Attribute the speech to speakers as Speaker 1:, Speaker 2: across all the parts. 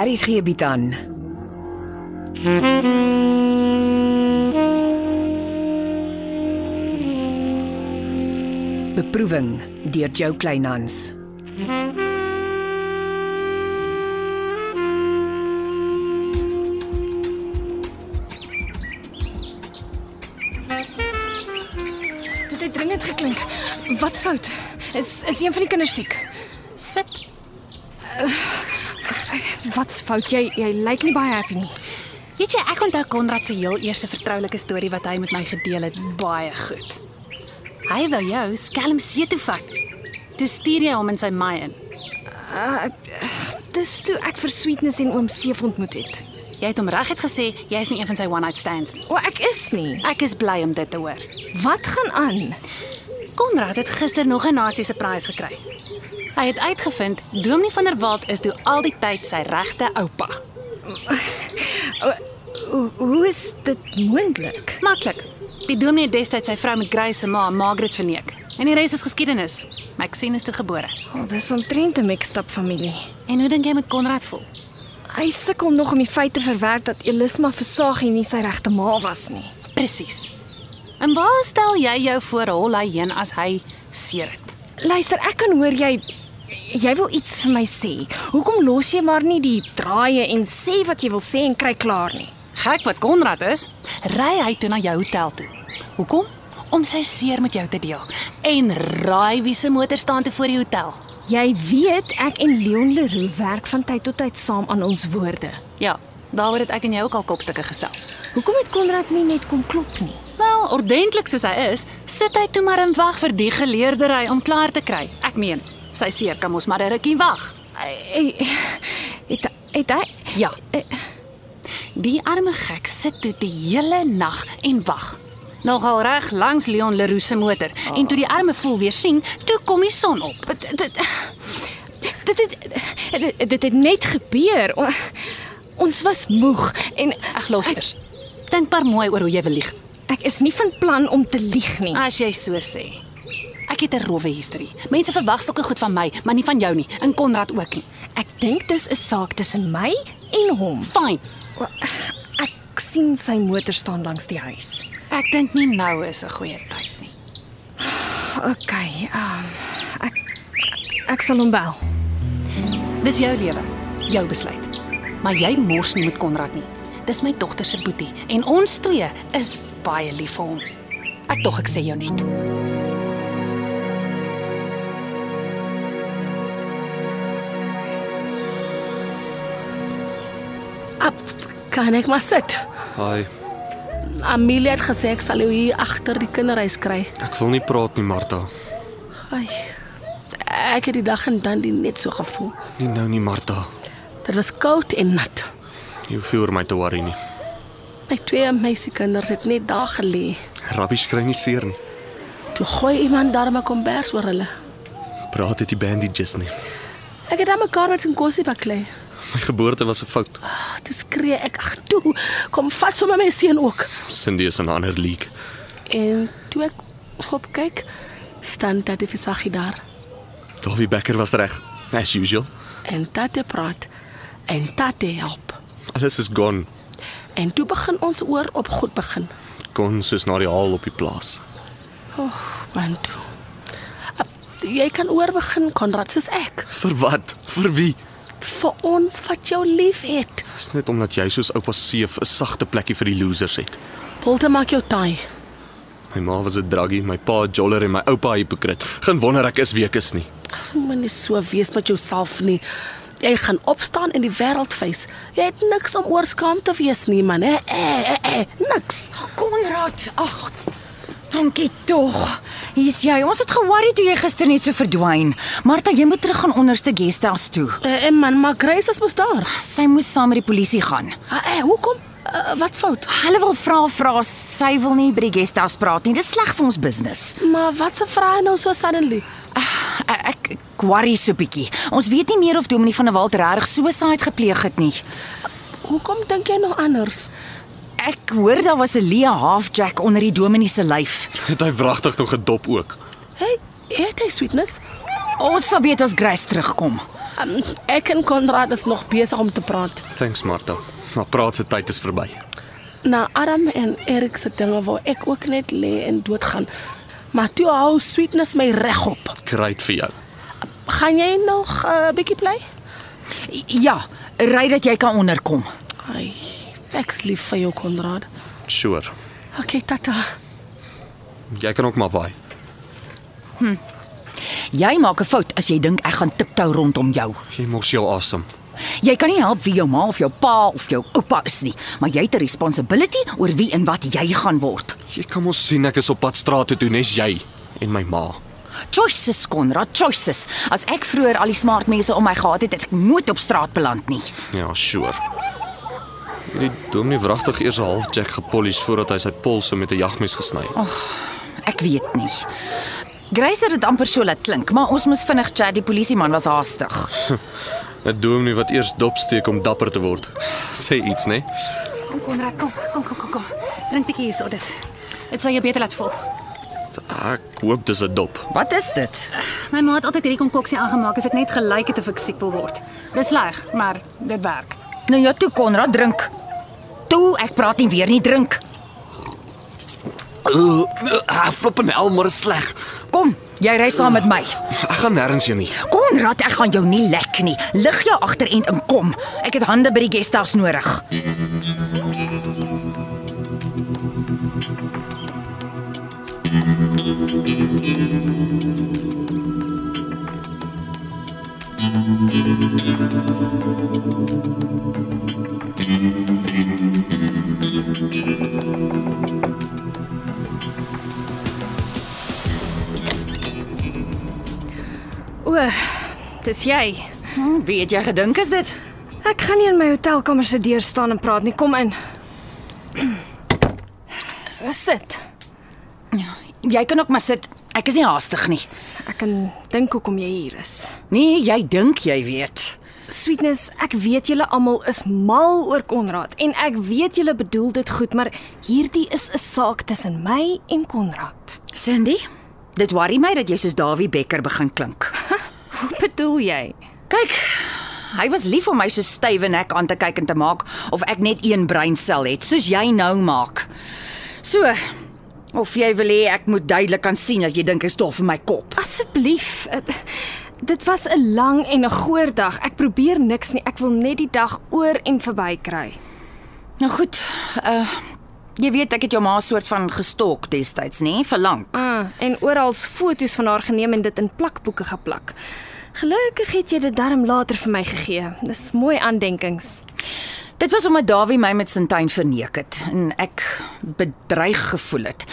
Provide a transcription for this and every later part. Speaker 1: Aries gee bied aan. Beproeving deur Jo Kleinhans.
Speaker 2: Dit het dringend geklink. Wat's fout? Is is een van die kinders siek? Uh,
Speaker 3: Sit.
Speaker 2: Wat's fout? Jy jy lyk nie baie happy nie.
Speaker 3: Weet jy, ek onthou Konrad se heel eerste vertroulike storie wat hy met my gedeel het baie goed. Hy wou jou skelm see toe vat. Toe stuur jy hom in sy my in.
Speaker 2: Dis toe ek vir Sweetness en oom Seef ontmoet het.
Speaker 3: Jy het hom reguit gesê jy is nie een van sy one night stands nie.
Speaker 2: O, ek is nie.
Speaker 3: Ek is bly om dit te hoor.
Speaker 2: Wat gaan aan?
Speaker 3: Konrad het gister nog 'n nasie se prys gekry. Hy het uitgevind Dominee van der Walt is toe al die tyd sy regte oupa.
Speaker 2: O, hoe is dit moontlik?
Speaker 3: Maklik. Die dominee het destyds sy vrou met Grace se ma, Margaret verneek. En die res is geskiedenis. Maxine is toe gebore.
Speaker 2: Oh, dis omtrent 'n mixed-up familie.
Speaker 3: En hoe dink jy met Konrad voel?
Speaker 2: Hy sukkel nog om die feit te verwerk dat Elisma Versagie nie sy regte ma was nie.
Speaker 3: Presies. En waar stel jy jou voor hol hy heen as hy seer het?
Speaker 2: Luister, ek kan hoor jy jy wil iets vir my sê. Hoekom los jy maar nie die draaie en sê wat jy wil sê en kry klaar nie?
Speaker 3: Gek wat Konrad is, ry hy toe na jou hotel toe. Hoekom? Om sy seer met jou te deel. En raai wie se motor staan te voor die hotel?
Speaker 2: Jy weet ek en Leon Leroux werk van tyd tot tyd saam aan ons woorde.
Speaker 3: Ja, daaroor het ek en jy ook al kopstukke gesels.
Speaker 2: Hoekom het Konrad nie net kom klop nie?
Speaker 3: Wel, ordentlik soos hy is, sit hy toe maar en wag vir die geleerdery om klaar te kry. Ek meen, sy seer kan mos maar 'n rukkie wag.
Speaker 2: Hy- hy- Het het hy
Speaker 3: Ja. Die arme gek sit toe die hele nag en wag. Nogal reg langs Leon Leroux se motor oh. en toe die arme voel weer sien, toe kom die son op.
Speaker 2: dit dit dit het, dit, dit het net gebeur. O- Ons was moeg en
Speaker 3: Ag luister. Dink maar mooi oor hoe jy wil lieg.
Speaker 2: ek is nie van plan om te lieg nie.
Speaker 3: As jy so sê. Ek het 'n rowwe historie. Mense verwag sulke goed van my, maar nie van jou nie, en Konrad ook nie.
Speaker 2: Ek dink dis 'n saak tussen my en hom.
Speaker 3: Fyn.
Speaker 2: Ek sien sy motor staan langs die huis.
Speaker 3: Ek dink nie nou is 'n goeie tyd nie.
Speaker 2: OK, um, ek ek sal hom bel.
Speaker 3: Dis jou lewe, jou besluit. Maar jy mors nie met Konrad nie. Dis my dogter se boetie en ons twee is baie lief vir hom. Ek tog ek sê jou net.
Speaker 4: Ap, kan ek maar sit.
Speaker 5: Hi.
Speaker 4: Amelia het gesê ek sal jou hier agter die kinderhuis kry.
Speaker 5: Ek wil nie praat nie, Martha.
Speaker 4: Ai. Ek het die dag en dan die net so gevoel.
Speaker 5: Nie nou nie, Martha.
Speaker 4: Dit was koud en nat.
Speaker 5: Jy hoef nie oor my te worry nie.
Speaker 4: My twee meisiekinders het net daar gelê.
Speaker 5: Rabbies kry nie seer nie.
Speaker 4: Toe gooi iemand daar 'n kombers oor hulle.
Speaker 5: Praat dit die bandages nie.
Speaker 4: Ek het aan mekaar met 'n kosie baklei.
Speaker 5: My geboorte was 'n fout.
Speaker 4: Ah, Toe skree ek, "Ag toe, kom vat sommer my seun ook."
Speaker 5: Cindy is in 'n ander league.
Speaker 4: En toe ek opkyk, staan Tatie Visagie daar.
Speaker 5: Davie Becker was reg, as usual.
Speaker 4: En Tatie praat en Tatie help.
Speaker 5: Alles is gone.
Speaker 4: En toe begin ons oor op goed begin.
Speaker 5: Kon soos na die haal op die plaas.
Speaker 4: Want toe. Ap, Jy kan oor begin Konrad soos ek.
Speaker 5: Vir wat? Vir wie?
Speaker 4: Vir ons wat jou liefhet.
Speaker 5: Dis net omdat jy soos oupa Seef 'n sagte plekkie vir die losers het.
Speaker 4: Polte maak jou taai.
Speaker 5: My ma was 'n druggie, my pa 'n joller en my oupa 'n hipokrit. Geen wonder ek is week is nie.
Speaker 4: Moenie so wees met jouself nie. Jy gaan opstaan en die wêreld face. Jy het niks om oor skaam te wees nie, man. Hè? Eh, eh, eh, niks.
Speaker 6: Konrad, ag. Dankie tog. Hier's jy. Ons het ge-worry toe jy gister net so verdwyn. Martha, jy moet terug gaan onderste guesthouse toe.
Speaker 4: Eh, eh, man, maar Grace is mos daar.
Speaker 6: Sy moes saam met die polisie gaan.
Speaker 4: Eh, eh, hoekom? Eh, wat's fout?
Speaker 6: Hulle wil vra vra, sy wil nie by die guesthouse praat nie. Dis sleg vir ons business.
Speaker 4: Maar wat se vrae nou so suddenly?
Speaker 6: Ek ek ek worry so bietjie. Ons weet nie meer of Dominee van der Walt regtig suicide gepleeg het nie.
Speaker 4: Hoekom dink jy nou anders?
Speaker 6: Ek hoor daar was 'n Leah halfjack onder die dominee se lyf.
Speaker 5: Het hy wragtig nog gedop ook.
Speaker 4: Hey, het hy sweetness?
Speaker 6: Ons sal weet as Grace terugkom.
Speaker 4: Um, ek en Konrad is nog besig om te praat.
Speaker 5: Thanks Martha. Maar praat se tyd is verby.
Speaker 4: Na Adam en Erik se dinge wou ek ook net lê en doodgaan. Maar toe hou sweetness my regop.
Speaker 5: Great vir jou.
Speaker 4: Gaan jy nog 'n uh, bietjie bly?
Speaker 6: Ja, ry dat jy kan onderkom.
Speaker 4: Ai, ek's lief vir jou Konrad.
Speaker 5: Sure.
Speaker 4: Okay, tata.
Speaker 5: Jy kan ook maar vaai.
Speaker 6: Jy maak 'n fout as jy dink ek gaan tiptou rondom jou.
Speaker 5: Jy mors jou asem.
Speaker 6: Jy kan nie help wie jou ma of jou pa of jou oupa is nie, maar jy het 'n responsibility oor wie en wat jy gaan word.
Speaker 5: Jy kan mos sien ek is op pad straat toe toe nes jy en my ma.
Speaker 6: Choices Konrad, choices. As ek vroeër al die smart mense om my gehad het, het ek nooit op straat beland nie.
Speaker 5: Ja, sure. Hierdie dominee wragtig eers 'n half jack gepolish voordat hy sy polse met 'n jagmes gesny het.
Speaker 6: Ek weet nie. Grace het dit amper so laat klink, maar ons moes vinnig chat, die polisieman was haastig.
Speaker 5: 'n Dominee wat eers dopsteek om dapper te word. Sê iets, né? Nee?
Speaker 3: Kom Konrad, kom, kom, kom, kom, kom. Drink bietjie hierso dit. Dit sal jou beter laat voel.
Speaker 5: Ek hoop dis 'n dop.
Speaker 6: Wat is dit?
Speaker 3: My ma het altyd hierdie konkoksie aangemaak as ek net gelyk het of ek siek wil word. Dis sleg, maar dit werk.
Speaker 6: Nou ja, toe Konrad drink. Toe, ek praat nie weer nie, drink.
Speaker 5: Uh, uh, flippin hel, maar is sleg.
Speaker 6: Kom, jy ry saam met my.
Speaker 5: Ek gaan nêrens heen nie.
Speaker 6: Konrad, ek gaan jou nie lek nie. Lig jou agterend in kom. Ek het hande by die guesthouse nodig.
Speaker 2: O, dis jy.
Speaker 6: Hm, wie het jy gedink is dit?
Speaker 2: Ek gaan nie in my hotelkamer se deur staan en praat nie. Kom in. Sit.
Speaker 6: Jy kan ook maar sit. Ek is nie haastig nie.
Speaker 2: Ek kan dink hoekom jy hier is.
Speaker 6: Nee, jy dink jy weet.
Speaker 2: Sweetness, ek weet julle almal is mal oor Konrad en ek weet julle bedoel dit goed, maar hierdie is 'n saak tussen my en Konrad.
Speaker 6: Cindy, dit worry my dat jy soos Dawie Becker begin klink.
Speaker 2: Hoe bedoel jy?
Speaker 6: Kyk, hy was lief om my so stywe nek aan te kyk en te maak of ek net een breinsel het, soos jy nou maak. So, of jy wil hê ek moet duidelik kan sien dat jy dink is stof in my kop.
Speaker 2: Asseblief. eh, Dit was 'n lang en 'n goeie dag. Ek probeer niks nie. Ek wil net die dag oor en verby kry.
Speaker 6: Nou goed, uh jy weet ek het jou ma soort van gestalk destyds, nê, vir lank.
Speaker 2: Ah, en oral foto's van haar geneem en dit in plakboeke geplak. Gelukkig het jy dit darm later vir my gegee. Dis mooi aandenkings.
Speaker 6: Dit was omdat Dawie my met Sintyn verneek het en ek bedreig gevoel het.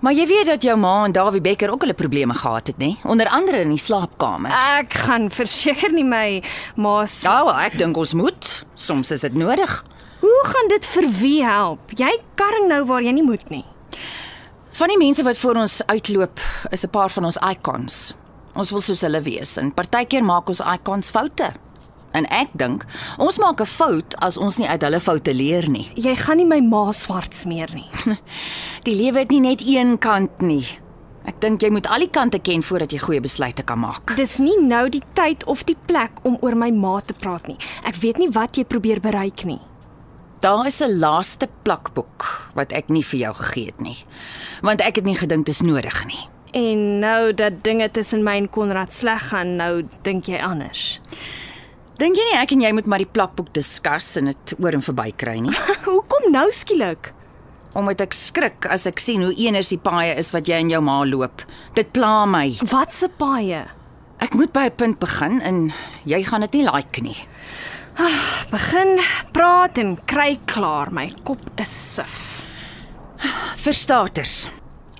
Speaker 6: Maar jy weet dat jou ma en Dawie Becker ook hulle probleme gehad het, nê? Onder andere in die slaapkamer.
Speaker 2: Ek gaan verseker nie my ma se
Speaker 6: Ja, wel, ek dink ons moet. Soms is dit nodig.
Speaker 2: Hoe gaan dit vir wie help? Jy karring nou waar jy nie moet nie.
Speaker 6: Van die mense wat voor ons uitloop, is 'n paar van ons icons. Ons wil soos hulle wees en partykeer maak ons icons foute. En ek dink, ons maak 'n fout as ons nie uit hulle foute leer nie.
Speaker 2: Jy gaan nie my ma swart smeer nie.
Speaker 6: Die lewe het nie net een kant nie. Ek dink jy moet al die kante ken voordat jy goeie besluite kan maak.
Speaker 2: Dis nie nou die tyd of die plek om oor my ma te praat nie. Ek weet nie wat jy probeer bereik nie.
Speaker 6: Daar is 'n laaste plakboek wat ek nie vir jou gegee het nie. Want ek het nie gedink dit is nodig nie.
Speaker 2: En nou dat dinge tussen my en Konrad sleg gaan, nou dink jy anders.
Speaker 6: Dink jy nie ek en jy moet maar die plakboek diskus en dit oor en verby kry nie?
Speaker 2: Hoekom nou skielik?
Speaker 6: Omdat ek skrik as ek sien hoe eners die paaie is wat jy en jou ma loop. Dit pla my.
Speaker 2: Wat se paaie?
Speaker 6: Ek moet by 'n punt begin en jy gaan dit nie like nie.
Speaker 2: Begin praat en kry klaar. My kop is sif.
Speaker 6: Verstaters.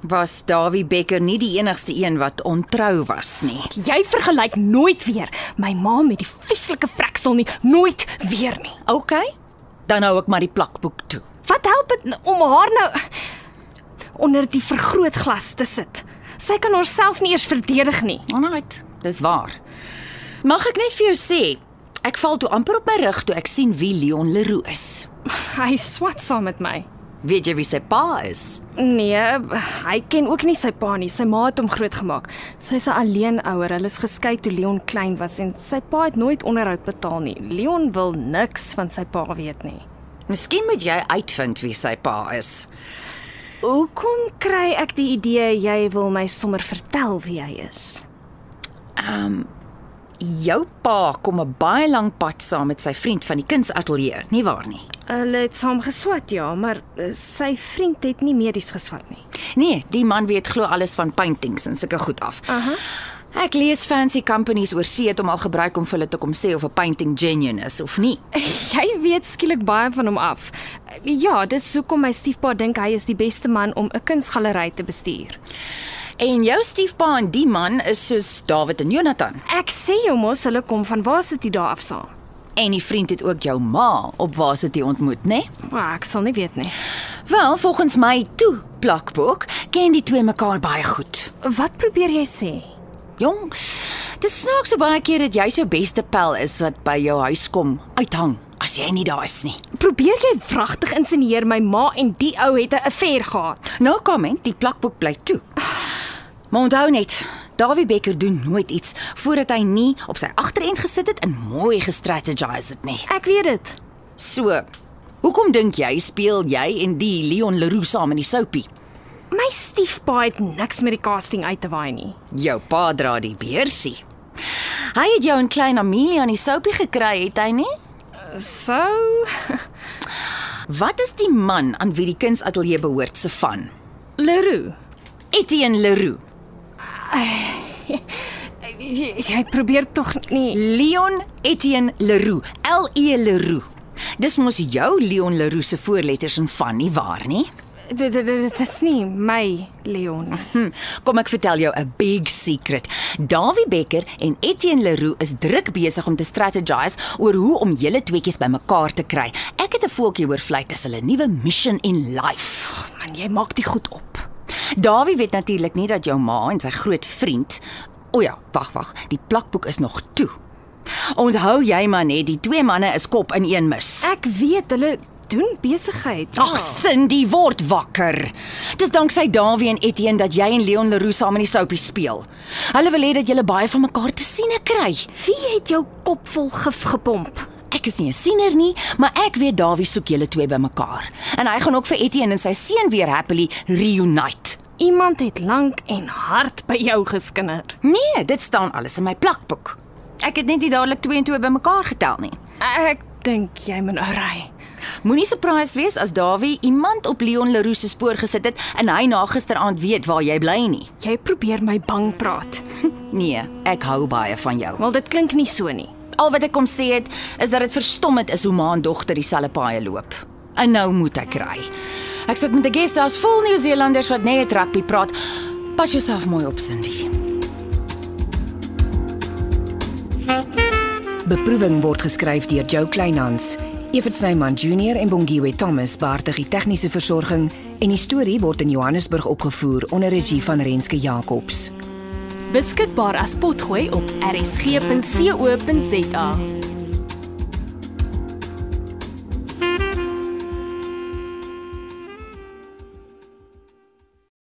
Speaker 6: Was Dawie Becker nie die enigste een wat ontrou was nie?
Speaker 2: Jy vergelyk nooit weer my ma met die vieslike vreksel nie, nooit weer nie.
Speaker 6: OK. Dan hou ek maar die plakboek toe.
Speaker 2: Wat help dit n- om haar nou onder die vergrootglas te sit? Sy kan haarself nie eers verdedig nie.
Speaker 6: Alright, dis waar. Mag ek net vir jou sê, ek val toe amper op my rug toe ek sien wie Leon Leroux is.
Speaker 2: Hy swat saam met my.
Speaker 6: Weet jy wie sy pa is?
Speaker 2: Nee, hy ken ook nie sy pa nie. Sy ma het hom grootgemaak. Sy's 'n alleenouer. Hulle is geskei toe Leon klein was en sy pa het nooit onderhoud betaal nie. Leon wil niks van sy pa weet nie.
Speaker 6: Miskien moet jy uitvind wie sy pa is.
Speaker 2: Hoekom kry ek die idee jy wil my sommer vertel wie hy is?
Speaker 6: Jou pa kom 'n baie lang pad saam met sy vriend van die kunsatelier, nie waar nie?
Speaker 2: Hulle het saam geswat, ja, maar eh, sy vriend het nie medies geswat nie.
Speaker 6: Nee, die man weet glo alles van paintings en sulke goed af. Aha. Ek lees fancy companies oor see het hom al gebruik om vir hulle te kom sê of 'n painting genuine is of nie.
Speaker 2: Jy weet skielik baie van hom af. Ja, dis hoekom my stiefpa dink hy is die beste man om 'n kunsgalery te bestuur.
Speaker 6: En jou stiefpa en die man is soos Dawid en Jonathan.
Speaker 2: Ek sê jou mos hulle kom van waar sit jy daar af saam?
Speaker 6: En die vriend het ook jou ma op waar sit jy ontmoet, né? Nee?
Speaker 2: Maar ek sal nie weet nie.
Speaker 6: Wel, volgens my toe plakboek ken die twee mekaar baie goed.
Speaker 2: Wat probeer jy sê?
Speaker 6: Jong, dit snaaks so baie keer dat jy jou beste pel is wat by jou huis kom uithang as jy nie daar is nie.
Speaker 2: Probeer jy vragtig insinieer my ma en die ou het 'n affair gehad?
Speaker 6: No comment, Nou die plakboek bly toe. Maar onthou net, Dawie Becker doen nooit iets voordat hy nie op sy agterend gesit het en mooi gestrategize het nie.
Speaker 2: Ek weet dit.
Speaker 6: So, hoekom dink jy speel jy en die Leon Leroux saam in die soupie?
Speaker 2: My stiefpa het niks met die casting uit te waai nie.
Speaker 6: Jou pa dra die beursie. Hy het jou en klein Amelia in die soupie gekry, het hy nie?
Speaker 2: So,
Speaker 6: Wat is die man aan wie die kunsatelier behoort se van?
Speaker 2: Leroux,
Speaker 6: Etienne Leroux.
Speaker 2: jy, jy probeer tog nie.
Speaker 6: Leon Etienne Leroux, L E Leroux. Dis mos jou Leon Leroux se voorletters en van nie waar nie?
Speaker 2: Dit dit- dit is nie my Leon. nie.
Speaker 6: Hm, kom ek vertel jou 'n big secret. Dawie Becker en Etienne Leroux is druk besig om te strategize oor hoe om julle tweeetjies bymekaar te kry. Ek het 'n voeltjie oor vlieg as hulle nuwe mission in life.
Speaker 2: Oh, Man, jy maak die goed op.
Speaker 6: Dawie weet natuurlik nie dat jou ma en sy groot vriend. O ja, wag, wag. Die plakboek is nog toe. Onthou jy maar net, die twee manne is kop in een mis.
Speaker 2: Ek weet hulle doen besigheid.
Speaker 6: Ag, Cindy word wakker. Dis danksy Dawie en Etienne dat jy en Leon Leroux saam in die soupie speel. Hulle wil hê dat julle baie van mekaar te sien kry.
Speaker 2: Wie het jou kop vol gif gepomp?
Speaker 6: Ek is nie 'n siener nie, maar ek weet Dawie soek julle twee bymekaar. En hy gaan ook vir Etienne en sy seun weer happily reunite.
Speaker 2: Iemand het lank en hard by jou geskinder.
Speaker 6: Nee, dit staan alles in my plakboek. Ek het net nie dadelik 2 en 2 bymekaar getel nie.
Speaker 2: Ek dink jy moet nou ry.
Speaker 6: Moenie surprised wees as Dawie iemand op Leon Leroux se spoor gesit het en hy na gisteraand weet waar jy bly nie.
Speaker 2: Jy probeer my bang praat.
Speaker 6: Nee, ek hou baie van jou.
Speaker 2: Wel dit klink nie so nie.
Speaker 6: Al wat ek kom sê het is dat dit verstommend is hoe ma en dogter dieselfde paaie loop. En nou moet ek ry. Ek sit met 'n guesthouse vol Nieu-Seelanders wat net rugby praat. Pas jouself mooi op, Cindy.
Speaker 1: Beproeving word geskryf deur Jo Kleinhans. Evert Snyman Junior en Bongwe Thomas baartig die tegniese versorging en die storie word in Johannesburg opgevoer onder regie van Renske Jacobs.
Speaker 2: Beskikbaar as potgooi op rsg.co.za.